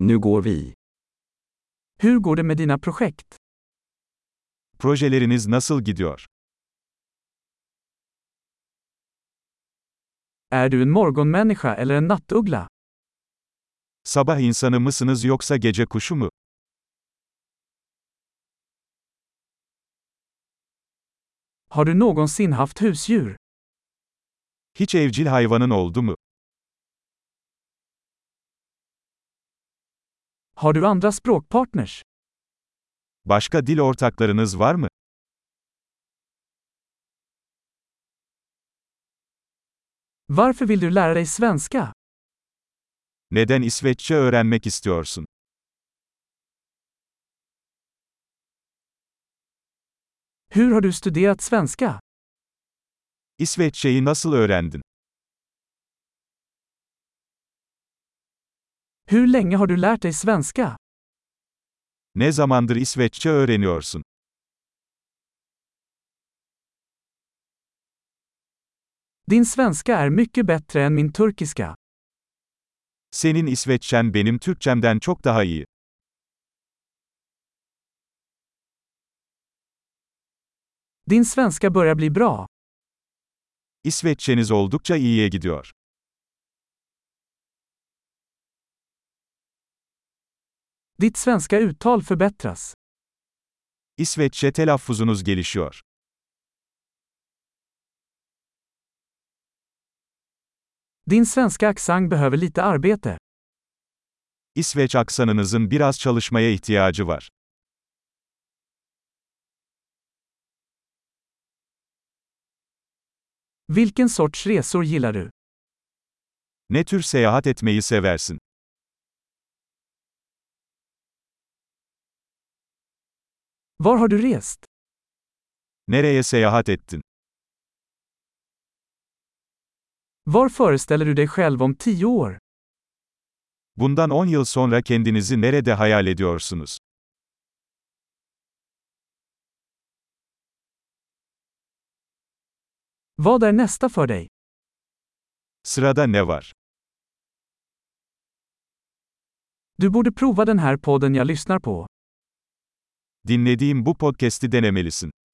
Nu går vi. Hur går det med dina projekt? Projeleriniz nasıl gidiyor? Är du en morgonmänniska eller en nattuggla? Sabah insanı mısınız yoksa gece kuşu mu? Har du någonsin haft husdjur? Hiç evcil hayvanın oldu mu? Har du andra språkpartners? Başka dil ortaklarınız var mı? Varför vill du lära dig svenska? Neden İsveççe öğrenmek istiyorsun? Hur har du studerat svenska? İsveççeyi nasıl öğrendin? Hur länge har du lärt dig svenska? Ne zamandır İsveççe öğreniyorsun? Din svenska är mycket bättre än min turkiska. Senin İsveççen benim Türkçemden çok daha iyi. Din svenska börjar bli bra. İsveççeniz oldukça iyiye gidiyor. Ditt svenska uttal förbättras. İsveççe telaffuzunuz gelişiyor. Din svenska accent behöver lite arbete. İsveç aksanınızın biraz çalışmaya ihtiyacı var. Vilken sorts resor gillar du? Ne tür seyahat etmeyi seversin? Var har du rest? Nereye seyahat ettin? Var föreställer du dig själv om tio år? Bundan 10 yıl sonra kendinizi nerede hayal ediyorsunuz? Vad är nästa för dig? Sırada ne var? Du borde prova den här podden jag lyssnar på. Dinlediğim bu podcast'i denemelisin.